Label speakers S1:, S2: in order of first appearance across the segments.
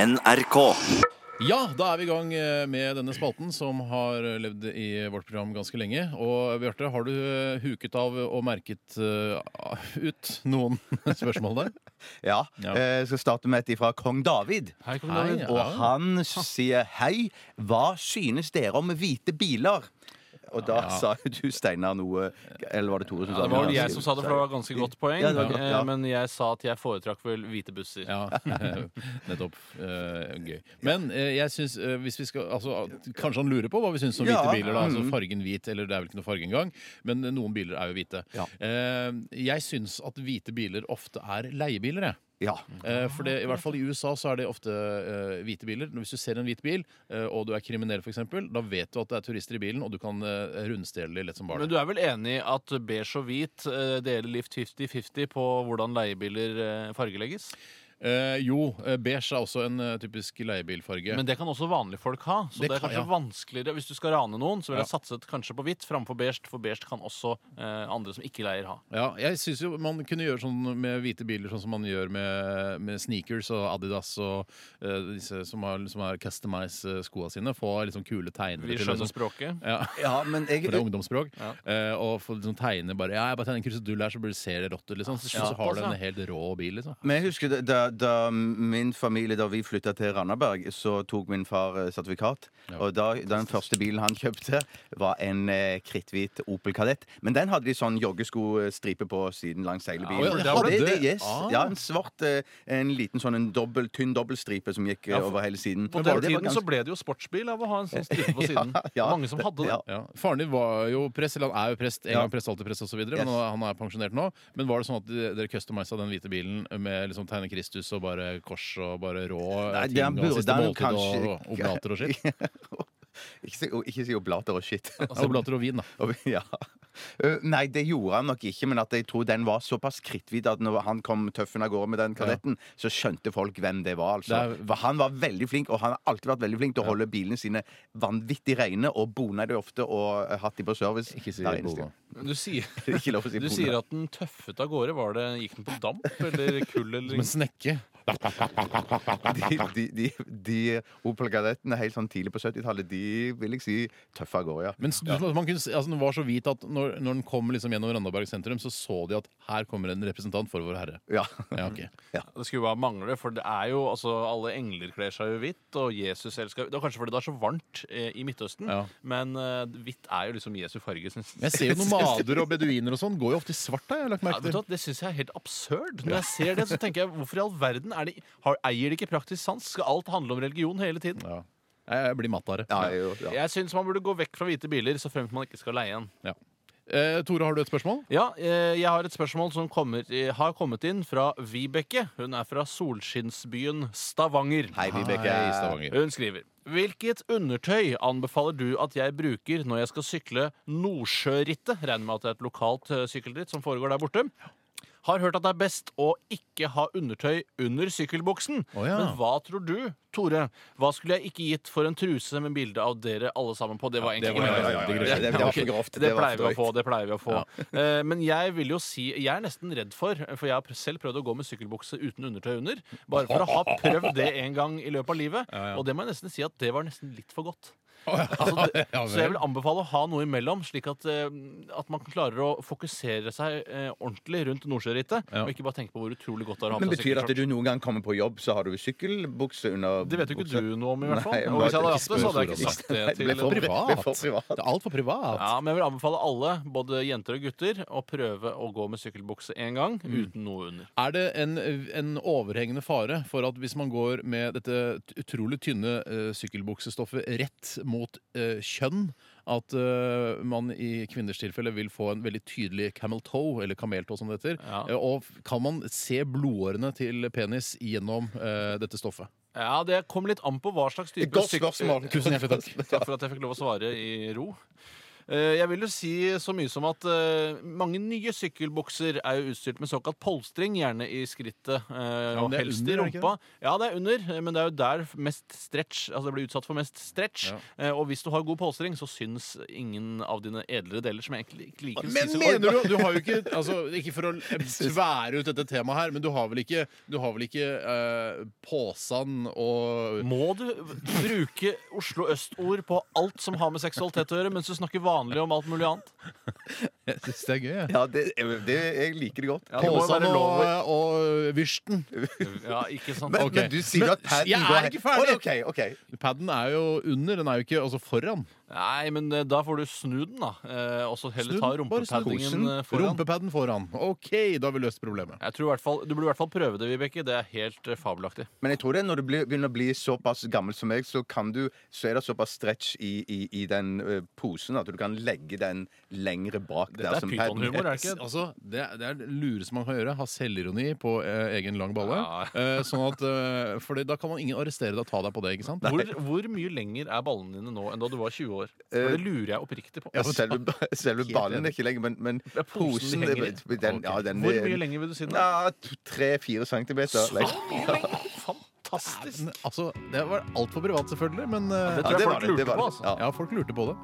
S1: NRK.
S2: Ja, da er vi i gang eh, med denne spalten som har eh, levd i vårt program ganske lenge. Og Bjarte, har du eh, huket av og merket eh, ut noen spørsmål der?
S3: Ja.
S2: Ja.
S3: Eh, Jeg skal starte med et fra kong David.
S4: Hei, kom
S2: Hei,
S4: David.
S2: ja.
S3: Og han sier hei, hva synes dere om hvite biler? Og da
S2: Ja.
S3: sa jo du, Steinar, noe Eller var det Tore som sa
S4: Det var vel jeg som sa det, for det var ganske godt poeng.
S3: Ja, det var godt,
S4: Eh,
S3: ja.
S4: Men jeg sa at jeg foretrakk vel hvite busser.
S2: Ja, eh, nettopp. Eh, Gøy. Men eh, jeg syns eh, hvis vi skal altså, at- Kanskje han lurer på hva vi syns om
S3: Ja,
S2: hvite biler. da, altså
S3: mm.
S2: Fargen hvit, eller det er vel ikke noe farge engang, men eh, noen biler er jo hvite.
S3: Ja.
S2: Eh, Jeg syns at hvite biler ofte er leiebiler, jeg.
S3: Ja.
S2: Eh, For det, I hvert fall i USA så er det ofte eh, hvite biler. Hvis du ser en hvit bil, eh, og du er kriminell f.eks., da vet du at det er turister i bilen, og du kan eh, rundstjele de lett som
S4: Men
S2: bare det.
S4: du er vel enig i at beige og hvit eh, deler liv 50-50 på hvordan leiebiler eh, fargelegges?
S2: Eh, jo, eh, beige er også en eh, typisk leiebilfarge.
S4: Men det kan også vanlige folk ha. Så
S2: Det
S4: det, er
S2: kan-
S4: kanskje
S2: ja.
S4: vanskeligere Hvis du skal rane noen, så vil jeg
S2: Ja.
S4: satset kanskje på hvitt framfor beige, for beige kan også eh, andre som ikke leier, ha.
S2: Ja, jeg syns jo man kunne gjøre sånn med hvite biler, sånn som man gjør med, med sneakers og Adidas og eh, disse som har, som har customized eh, skoene sine. Få liksom kule tegner
S4: Vi
S2: til,
S4: skjønner
S2: liksom.
S4: språket.
S2: Ja,
S3: sånn. ja, men jeg
S2: for det er ungdomsspråk.
S4: Ja.
S2: Eh, og få liksom tegne bare Ja, jeg bare tegner en krusedull her, så blir det ser det rått ut, liksom. Så,
S4: Ja,
S2: så har du
S4: altså.
S2: en helt rå bil, liksom.
S3: Men jeg husker da- da, da min familie, da vi flytta til Randaberg, så tok min far eh, sertifikat. Og da, den første bilen han kjøpte, var en eh, kritthvit Opel Kadett. Men den hadde de sånn joggeskostripe på siden langs hele
S2: Ja,
S3: bilen.
S2: ja, ja,
S3: det,
S2: det-
S3: det, yes.
S2: Ah.
S3: ja, en svart, eh, en liten sånn en dobbel, tynn dobbeltstripe som gikk eh,
S4: Ja, for-
S3: over hele siden.
S4: På den
S3: Men var det- det var
S4: tiden så
S3: ganske-
S4: ble det jo sportsbil av å ha en sånn stripe på siden.
S3: ja,
S4: Mange som hadde det.
S3: ja.
S2: Ja. Faren din var jo prest, eller han er jo prest, en
S3: Ja.
S2: gang prest, alltid prest osv., videre
S3: Yes.
S2: men nå- han er pensjonert nå. Men var det sånn at de- dere customisa den hvite bilen med liksom tegne Kristus og bare kors og bare rå
S3: Nei,
S2: ting
S3: det han burde-
S2: og
S3: det
S2: siste
S3: er jo
S2: måltid
S3: kanskje-
S2: og oblater og skitt?
S3: Ikke si, ikke si oblater og shit.
S2: Altså, oblater og vin, da.
S3: Og- Ja. Eh, Nei, det gjorde han nok ikke, men at jeg tror den var såpass kritthvit at når han kom tøffen av gårde med den kadetten, så skjønte folk hvem det var. Altså.
S2: Det er-
S3: For han var veldig flink, og han har alltid vært veldig flink til å holde bilene sine vanvittig rene, og bona de ofte, og eh, hatt de på service.
S2: Ikke si
S3: Hver eneste
S2: bona.
S3: gang.
S4: Du sier,
S3: Ikke lov å si
S4: du sier at den tøffet av gårde. Var det, gikk den på damp eller kull? Eller?
S2: Som en snekke.
S3: de, de, de, de Opel Kadettene helt sånn tidlig på 70-tallet, de vil jeg si tøffe av gårde, ja.
S2: Men s- du- man kunne, se- altså, den var så hvit at når, når den kom liksom gjennom Randaberg sentrum, så så de at her kommer en representant for Vår Herre.
S3: ja.
S2: Ja, ok.
S4: Det skulle bare mangle, for det er jo altså, alle engler kler seg jo hvitt, og Jesus selv skal Det var kanskje fordi det er så varmt eh, i Midtøsten,
S2: Ja.
S4: men eh, hvitt er jo liksom Jesu farge, syns
S2: Men jeg ser jo nomader og beduiner og sånn. Går jo ofte i svart, da. Jeg har lagt
S4: Ja,
S2: merke
S4: vet du,
S2: til.
S4: hva, det syns jeg er helt absurd. Når jeg ser det, så tenker jeg hvorfor i all verden er de, har, eier de ikke praktisk sans? Skal alt handle om religion hele tiden?
S2: Ja. Jeg jeg blir matt av det.
S3: Ja, jo, ja.
S4: Jeg syns man burde gå vekk fra hvite biler, så fremt man ikke skal leie en.
S2: Ja. Eh, Tore, har du et spørsmål?
S4: Ja, eh, jeg har et spørsmål som kommer, eh, har kommet inn fra Vibeke. Hun er fra solskinnsbyen Stavanger.
S3: Hei, Vibeke.
S2: Hei, Stavanger.
S4: Hun skriver Hvilket undertøy anbefaler du at jeg bruker når jeg skal sykle Nordsjørittet? Regner med at det er et lokalt eh, sykkelritt som foregår der borte. Har hørt at det er best å ikke ha undertøy under sykkelbuksen.
S2: Å ja.
S4: Men hva tror du, Tore? Hva skulle jeg ikke gitt for en truse med bilde av dere alle sammen på? Det var
S2: det
S4: egentlig
S2: var-
S4: ikke
S2: ja, ja, ja, det-
S3: det var for grovt.
S4: Det
S3: Det var
S4: pleier vi å
S3: for
S4: få. det pleier vi å få Eh, Men jeg vil jo si Jeg er nesten redd for, for jeg har selv prøvd å gå med sykkelbukse uten undertøy under, bare for å ha prøvd det en gang i løpet av livet. Og det må jeg nesten si at det var nesten litt for godt. Altså, det,
S2: Ja,
S4: så jeg
S2: vel.
S4: vil anbefale å ha noe imellom, slik at, eh, at man klarer å fokusere seg eh, ordentlig rundt Nordsjørittet.
S2: Ja.
S4: Og ikke bare tenke på hvor utrolig godt det er å ha
S3: Men
S4: på seg
S3: betyr det at
S4: sykkelshorts.
S3: du noen gang kommer på jobb, så har du sykkelbukse under
S4: Det vet jo ikke
S3: buksa?
S4: du noe om, i hvert fall.
S3: Nei, jeg
S4: og hvis jeg hadde
S3: bare-
S4: hatt det, så hadde jeg ikke
S2: Ikke
S4: sagt det
S3: Nei,
S4: til
S3: ble for privat. Ble for
S2: Det
S3: privat.
S2: er altfor privat.
S4: Ja, men jeg vil anbefale alle, både jenter og gutter, å prøve å gå med sykkelbukse én gang
S2: Mm.
S4: uten noe under.
S2: Er det en, en overhengende fare for at hvis man går med dette t- utrolig tynne eh, sykkelbuksestoffet rett mot eh, kjønn, at eh, man i kvinners tilfelle vil få en veldig tydelig camel toe, eller kameltå som det heter?
S4: Ja.
S2: Eh, og f- kan man se blodårene til penis gjennom eh, dette stoffet?
S4: Ja, Det kommer litt an på hva slags type
S3: Godt
S4: syk-
S3: spørsmål.
S2: Tusen hjertelig takk.
S4: Takk for at jeg fikk lov å svare i ro. Eh, Jeg vil jo si så mye som at eh, mange nye sykkelbukser er jo utstyrt med såkalt polstring, gjerne i skrittet eh,
S2: men
S4: og
S2: det er
S4: helst i
S2: under, er det ikke
S4: rumpa. Ja, det er under, eh, men det er jo der mest stretch Altså det blir utsatt for mest stretch.
S2: Ja.
S4: Eh, Og hvis du har god polstring, så syns ingen av dine edlere deler, som jeg egentlig ikke liker å
S2: Men
S4: si så
S2: mener du Du har jo ikke altså, Ikke for å tvære ut dette temaet her, men du har vel ikke Du har vel ikke eh, påsan og
S4: Må du bruke Oslo Øst-ord på alt som har med seksualitet å gjøre, mens du snakker vanlig om alt mulig annet?
S2: Jeg syns det er gøy, jeg.
S3: Ja, det, eh, det, jeg liker det godt.
S4: Ja, det må jo
S2: Påsan
S4: være
S2: og,
S4: lov å-
S2: og Vyrsten.
S4: Ja, ikke sant?
S3: Men,
S2: Ok.
S3: men du sier
S2: Men,
S3: jo at padden
S2: jeg er
S3: går-
S2: ikke ferdig.
S3: Å, ok, ok.
S2: Paden er jo under, den er jo ikke altså foran.
S4: Nei, men eh, da får du snu den, da. Eh, og så heller
S2: Snu
S4: ta
S2: den, bare snu den.
S4: rumpepaddingen eh, foran.
S2: sånn- Rumpepadden foran. OK, da har vi løst problemet.
S4: Jeg tror i hvert fall, Du burde i hvert fall prøve det, Vibeke. Det er helt eh, fabelaktig.
S3: Men jeg tror det er når du blir, begynner å bli såpass gammel som meg, så, kan du, så er det såpass stretch i, i, i den eh, posen at du kan legge den lengre bak
S4: Det
S3: der
S4: er
S3: som
S4: pytonhumor, er det
S2: S-
S4: ikke?
S2: Altså, det, er- det er det lureste man kan gjøre. Ha selvironi på eh, egen lang balle.
S4: Ja.
S2: Eh, sånn at, eh, for da kan man ingen arrestere deg og ta deg på det. ikke sant?
S4: Hvor, hvor mye lenger er ballene dine nå enn da du var 20 år?
S3: Eh,
S4: For det lurer jeg oppriktig på.
S3: Ja, selve, selve
S2: Helt
S3: ballen
S2: enig.
S3: er ikke lenger, men, men
S4: er posen
S3: posen eh,
S4: de henger i.
S3: den, den, ja, den,
S4: Hvor mye lenger vil du si den er?
S3: Ja, Tre-fire centimeter.
S4: Så
S3: Like.
S4: mye lenger! Fantastisk!
S2: Men, altså, det var altfor privat, selvfølgelig, men eh,
S4: Det
S3: Ja,
S4: tror
S3: det
S4: jeg folk
S3: var det, det
S4: lurte
S3: var
S4: på,
S3: det.
S4: altså.
S3: Ja.
S2: ja, folk lurte på det.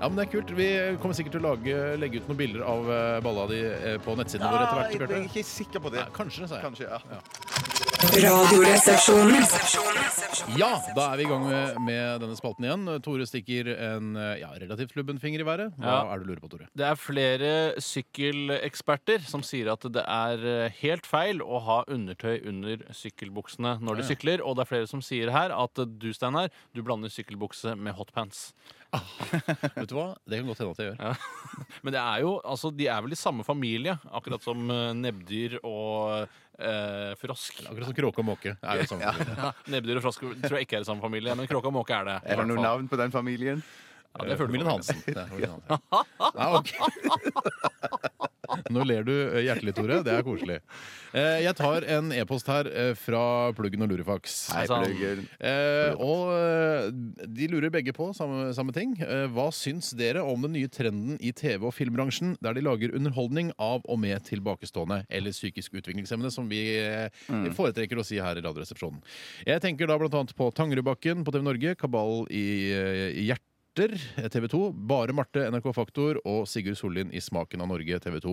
S2: Ja, men det er kult. Vi kommer sikkert til å lage, legge ut noen bilder av eh, balla di eh, på nettsidene våre
S3: Ah,
S2: etter hvert.
S3: Jeg jeg er
S2: Bjarte.
S3: ikke sikker på det.
S2: Ja, kanskje det, sa jeg.
S3: Kanskje, ja.
S1: Radioresepsjonen.
S2: Ja, da er vi i gang med, med denne spalten igjen. Tore stikker en eh, ja, relativt lubben finger i været. Hva
S4: Ja.
S2: er det du lurer på, Tore?
S4: Det er flere sykkeleksperter som sier at det er eh, helt feil å ha undertøy under sykkelbuksene når du sykler, og det er flere som sier her at eh, du, Steinar, du blander sykkelbukse med hotpants.
S2: Vet du hva? Det kan godt hende at jeg gjør.
S4: Men det er jo, altså, de er vel i samme familie, akkurat som eh, nebbdyr og eh, frosk.
S2: Akkurat som kråke og måke. Er jo samme familie.
S4: Ja, nebbdyr og frosk tror jeg ikke er i samme familie, men kråke og måke er det. i
S3: Er det
S4: hvert
S3: noe
S4: fall.
S3: navn på den familien?
S4: Ja, det føler
S2: Familien
S4: jeg.
S2: Hansen. Det er familien Hansen. Ja, ok. Nå ler du eh, hjertelig, Tore. Det er koselig. Eh, Jeg tar en e-post her eh, fra Pluggen og Lurifaks.
S3: Nei,
S4: sant.
S3: plugger.
S2: Eh, og eh, de lurer begge på samme, samme ting. Eh, hva syns dere om den nye trenden i TV- og filmbransjen, der de lager underholdning av og med tilbakestående eller psykisk utviklingshemmede, som vi eh, foretrekker å si her i Radioresepsjonen? Jeg tenker da bl.a. på Tangerudbakken på TV Norge, Kabal i, eh, i hjertet. TV 2, Bare Marte, NRK Faktor og Sigurd Sollien i Smaken av Norge, TV 2.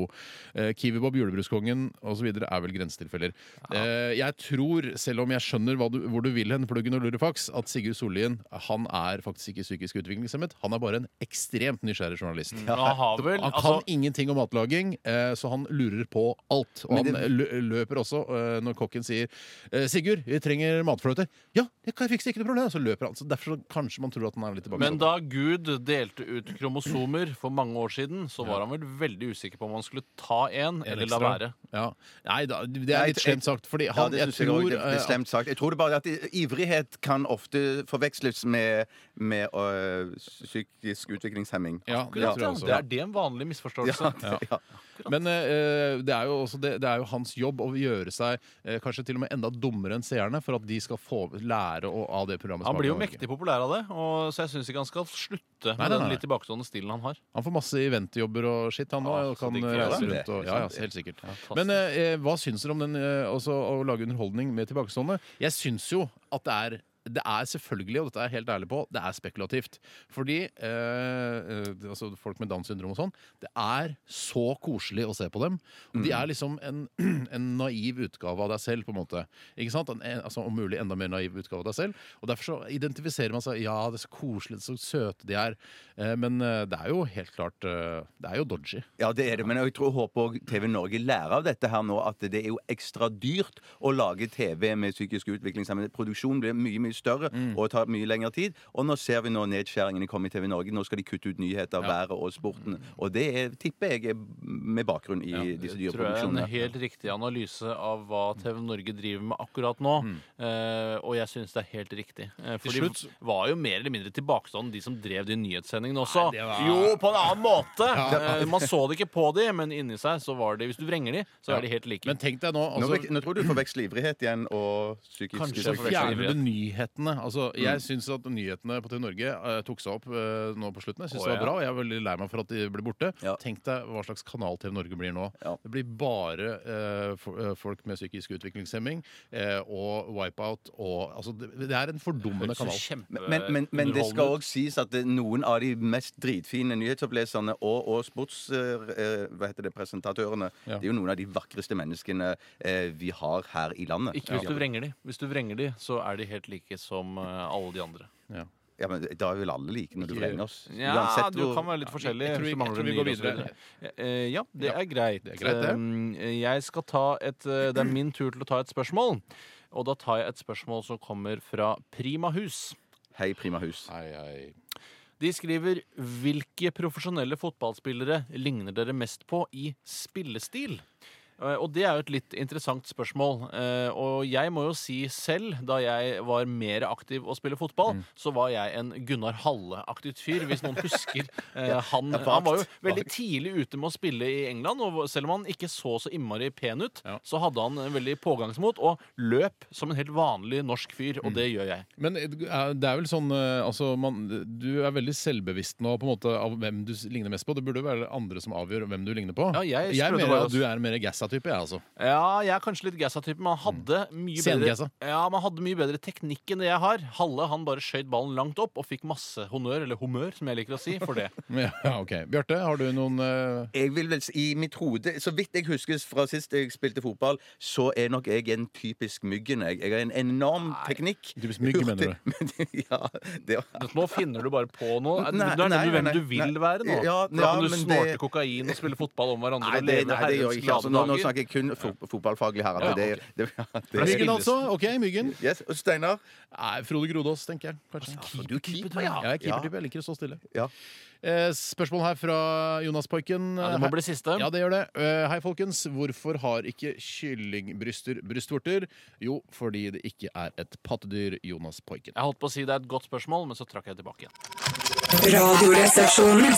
S2: Eh, Kiwi-Bob, Julebruskongen osv. er vel grensetilfeller. Eh, jeg tror, selv om jeg skjønner hva du, hvor du vil hen, pluggen og lurefaks, at Sigurd Sollien han er faktisk ikke psykisk utviklingshemmet. Han er bare en ekstremt nysgjerrig journalist.
S4: Men Han har vel,
S2: Han kan
S4: altså,
S2: ingenting om matlaging, eh, så han lurer på alt. Og
S3: Men
S2: han
S3: det-
S2: lø- løper også eh, når kokken sier eh, 'Sigurd, vi trenger matfløte'. 'Ja, det kan jeg fikse, ikke noe problem'. Så løper han. Så derfor så kanskje man tror at han er litt tilbake.
S4: Men da Gud delte ut kromosomer for mange år siden, så var han vel veldig usikker på om han skulle ta en,
S2: En
S4: eller la
S2: ekstra.
S4: være.
S2: ja. Nei, da, det
S3: Nei,
S2: er litt
S3: jeg-
S2: slemt sagt. Fordi
S3: Ja,
S2: han,
S3: det
S2: jeg
S3: synes jeg
S2: tror
S3: også. det, det
S2: eh,
S3: er slemt sagt. Jeg tror det bare at i- ivrighet kan ofte forveksles med, med øh, psykisk utviklingshemming.
S2: ja, det
S4: Akkurat,
S2: tror jeg
S4: ja.
S2: også.
S4: Det er det en vanlig misforståelse.
S3: Ja, ja.
S2: Men eh, det, er jo også, det, det er jo hans jobb å gjøre seg eh, kanskje til og med enda dummere enn seerne for at de skal få lære å, av det programmet.
S4: Han
S2: Smaken
S4: blir jo
S2: av Norge.
S4: mektig populær av det, og så jeg syns ikke han skal slutte
S2: Nei,
S4: med
S2: nei,
S4: den
S2: nei.
S4: litt tilbakestående stilen han har.
S2: Han får masse eventjobber og shit, han nå.
S4: Ja,
S2: og
S4: så
S2: kan
S4: digg for
S2: reise
S3: han.
S2: rundt og, ja, ja, helt sikkert. Men
S4: Fantastisk.
S2: eh, hva syns dere om den, eh, også, å lage underholdning med tilbakestående? Jeg syns jo at det er det er selvfølgelig, og dette er jeg helt ærlig på, det er spekulativt. Fordi eh, eh, altså folk med Downs syndrom og sånn, det er så koselig å se på dem. Og de er liksom en, en naiv utgave av deg selv, på en måte. Ikke sant? En, en, altså, om mulig enda mer naiv utgave av deg selv. Og derfor så identifiserer man seg Ja, det er så koselig, så søte de er. Eh, men eh, det er jo helt klart eh, Det er jo dodgy.
S3: Ja, det er det. Men jeg tror, håper også TV Norge lærer av dette her nå at det er jo ekstra dyrt å lage TV med psykisk utviklingshemmede. Produksjonen blir mye mye større og tar mye lengre tid. Og nå ser vi nå nedskjæringene komme i TV Norge. Nå skal de kutte ut nyheter, været og sporten. Og det er, tipper jeg er med bakgrunn i disse dyre
S4: Tror jeg er en
S3: produksjonene.
S4: helt riktig analyse av hva TV Norge driver med akkurat nå. Eh, og jeg syns det er helt riktig. Eh, for de
S2: Mm. slutt-
S4: var jo mer eller mindre tilbakestående, de som drev de nyhetssendingene også.
S2: Nei, det var-
S4: Jo, på en annen måte! Eh, man så det ikke på de, men inni seg så var de Hvis du vrenger de, så er de helt like.
S2: Men tenk deg nå,
S3: Nå,
S2: altså,
S3: vek- nå tror jeg du forveksler ivrighet igjen og psykisk
S4: Kanskje
S2: så
S4: jeg forveksler
S3: utviklingshemmede.
S2: fjerner du nyhetene. Altså,
S4: Mm.
S2: jeg syns at nyhetene på TV Norge eh, tok seg opp eh, nå på slutten. Jeg syns
S4: Å,
S2: det var
S4: ja.
S2: bra, og jeg er veldig lei meg for at de ble borte.
S3: Ja.
S2: Tenk deg hva slags kanal TV Norge blir nå.
S3: Ja.
S2: Det blir bare eh, for, eh, folk med psykisk utviklingshemming eh, og wipeout og Altså, det, det er en fordummende
S4: Høres jo
S2: kanal.
S4: kjempe-
S3: Men, men, men det
S4: underholdende
S3: skal
S4: ut.
S3: òg sies at det, noen av de mest dritfine nyhetsoppleserne og, eh, og sportspresentatørene
S2: Ja.
S3: Det er jo noen av de vakreste menneskene eh, vi har her i landet.
S4: Ikke hvis du vrenger de. Hvis du vrenger de, så er de helt like som eh, alle de andre.
S2: Ja.
S3: Ja, men Da er vel alle like når du
S2: Ikke-
S3: vrenger oss.
S4: Ja,
S3: Uansett
S4: du
S3: hvor-
S4: kan være litt forskjellig.
S2: jeg tror vi-
S4: så mangler
S2: jeg tror vi
S4: du
S2: går
S4: nyre og så
S2: videre.
S4: videre. Eh, Ja, det
S2: Ja,
S4: er greit.
S2: det er greit, det.
S4: Um, Jeg skal ta et eh, Det er min tur til å ta et spørsmål. Og da tar jeg et spørsmål som kommer fra Primahus.
S3: Hei, Prima Hus.
S2: Hei, hei.
S4: De skriver Hvilke profesjonelle fotballspillere ligner dere mest på i spillestil? Eh, Og det er jo et litt interessant spørsmål. Eh, Og jeg må jo si selv, da jeg var mer aktiv og spille fotball, så var jeg en Gunnar Halle-aktig fyr, hvis noen husker. Eh, Han,
S3: vagt.
S4: han var jo veldig tidlig ute med å spille i England, og selv om han ikke så så innmari pen ut,
S2: Ja.
S4: så hadde han en veldig pågangsmot og løp som en helt vanlig norsk fyr, og det gjør jeg.
S2: Men eh, det er vel sånn eh, altså, man, Du er veldig selvbevisst nå på en måte av hvem du ligner mest på. Det burde jo være andre som avgjør hvem du ligner på.
S4: Ja, jeg
S2: jeg
S4: prøvde
S2: mener
S4: bare å-
S2: at du er en mer gassa-type, jeg, altså.
S4: Ja, jeg er kanskje litt Gassa-type,
S3: Mm.
S4: men han hadde mye bedre
S2: Sengassa.
S4: Ja, man hadde mye bedre teknikk enn det jeg har. Halle han bare skjøt ballen langt opp og fikk masse honnør, eller humør, som jeg liker å si, for det.
S2: Ja, ok. Bjarte, har du noen eh,
S3: Jeg vil vel, s- I mitt hode, så vidt jeg husker fra sist jeg spilte fotball, så er nok jeg en typisk Myggen. Jeg, jeg har en enorm teknikk.
S2: Typisk mygg, mener du?
S3: du? ja, det var
S4: Nå finner du bare på noe. Er-
S3: Nei,
S4: du er
S3: nei,
S4: den du, hvem
S3: nei,
S4: du vil
S3: nei.
S4: være nå.
S3: Ja,
S4: For da
S3: ja,
S4: kan du
S3: men
S4: snorte
S3: det-
S4: kokain og spille fotball om hverandre og
S3: Nei, det,
S4: leve
S3: nei, det gjør jeg
S4: herrens
S3: ikke. Altså,
S4: glade
S3: nå, nå
S4: dager.
S3: snakker jeg kun fot- fotballfaglig her.
S4: Ja,
S3: at det,
S4: ok.
S3: det, ja, det,
S2: Myggen, altså? OK, myggen.
S3: yes. Og Steinar?
S2: Nei, Frode Grodås, tenker jeg. Kanskje.
S4: Altså,
S3: Du er keeper,
S2: Ja, jeg er keepertype. Jeg liker å stå stille.
S3: Ja.
S2: Eh, spørsmål her fra Jonas Poiken.
S4: ja, Det må bli siste.
S2: Ja, det gjør det. Eh, Hei, folkens. Hvorfor har ikke kyllingbryster brystvorter? Jo, fordi det ikke er et pattedyr, Jonas Poiken.
S4: Jeg holdt på å si det er et godt spørsmål, men så trakk jeg tilbake igjen.
S1: Radioresepsjonen.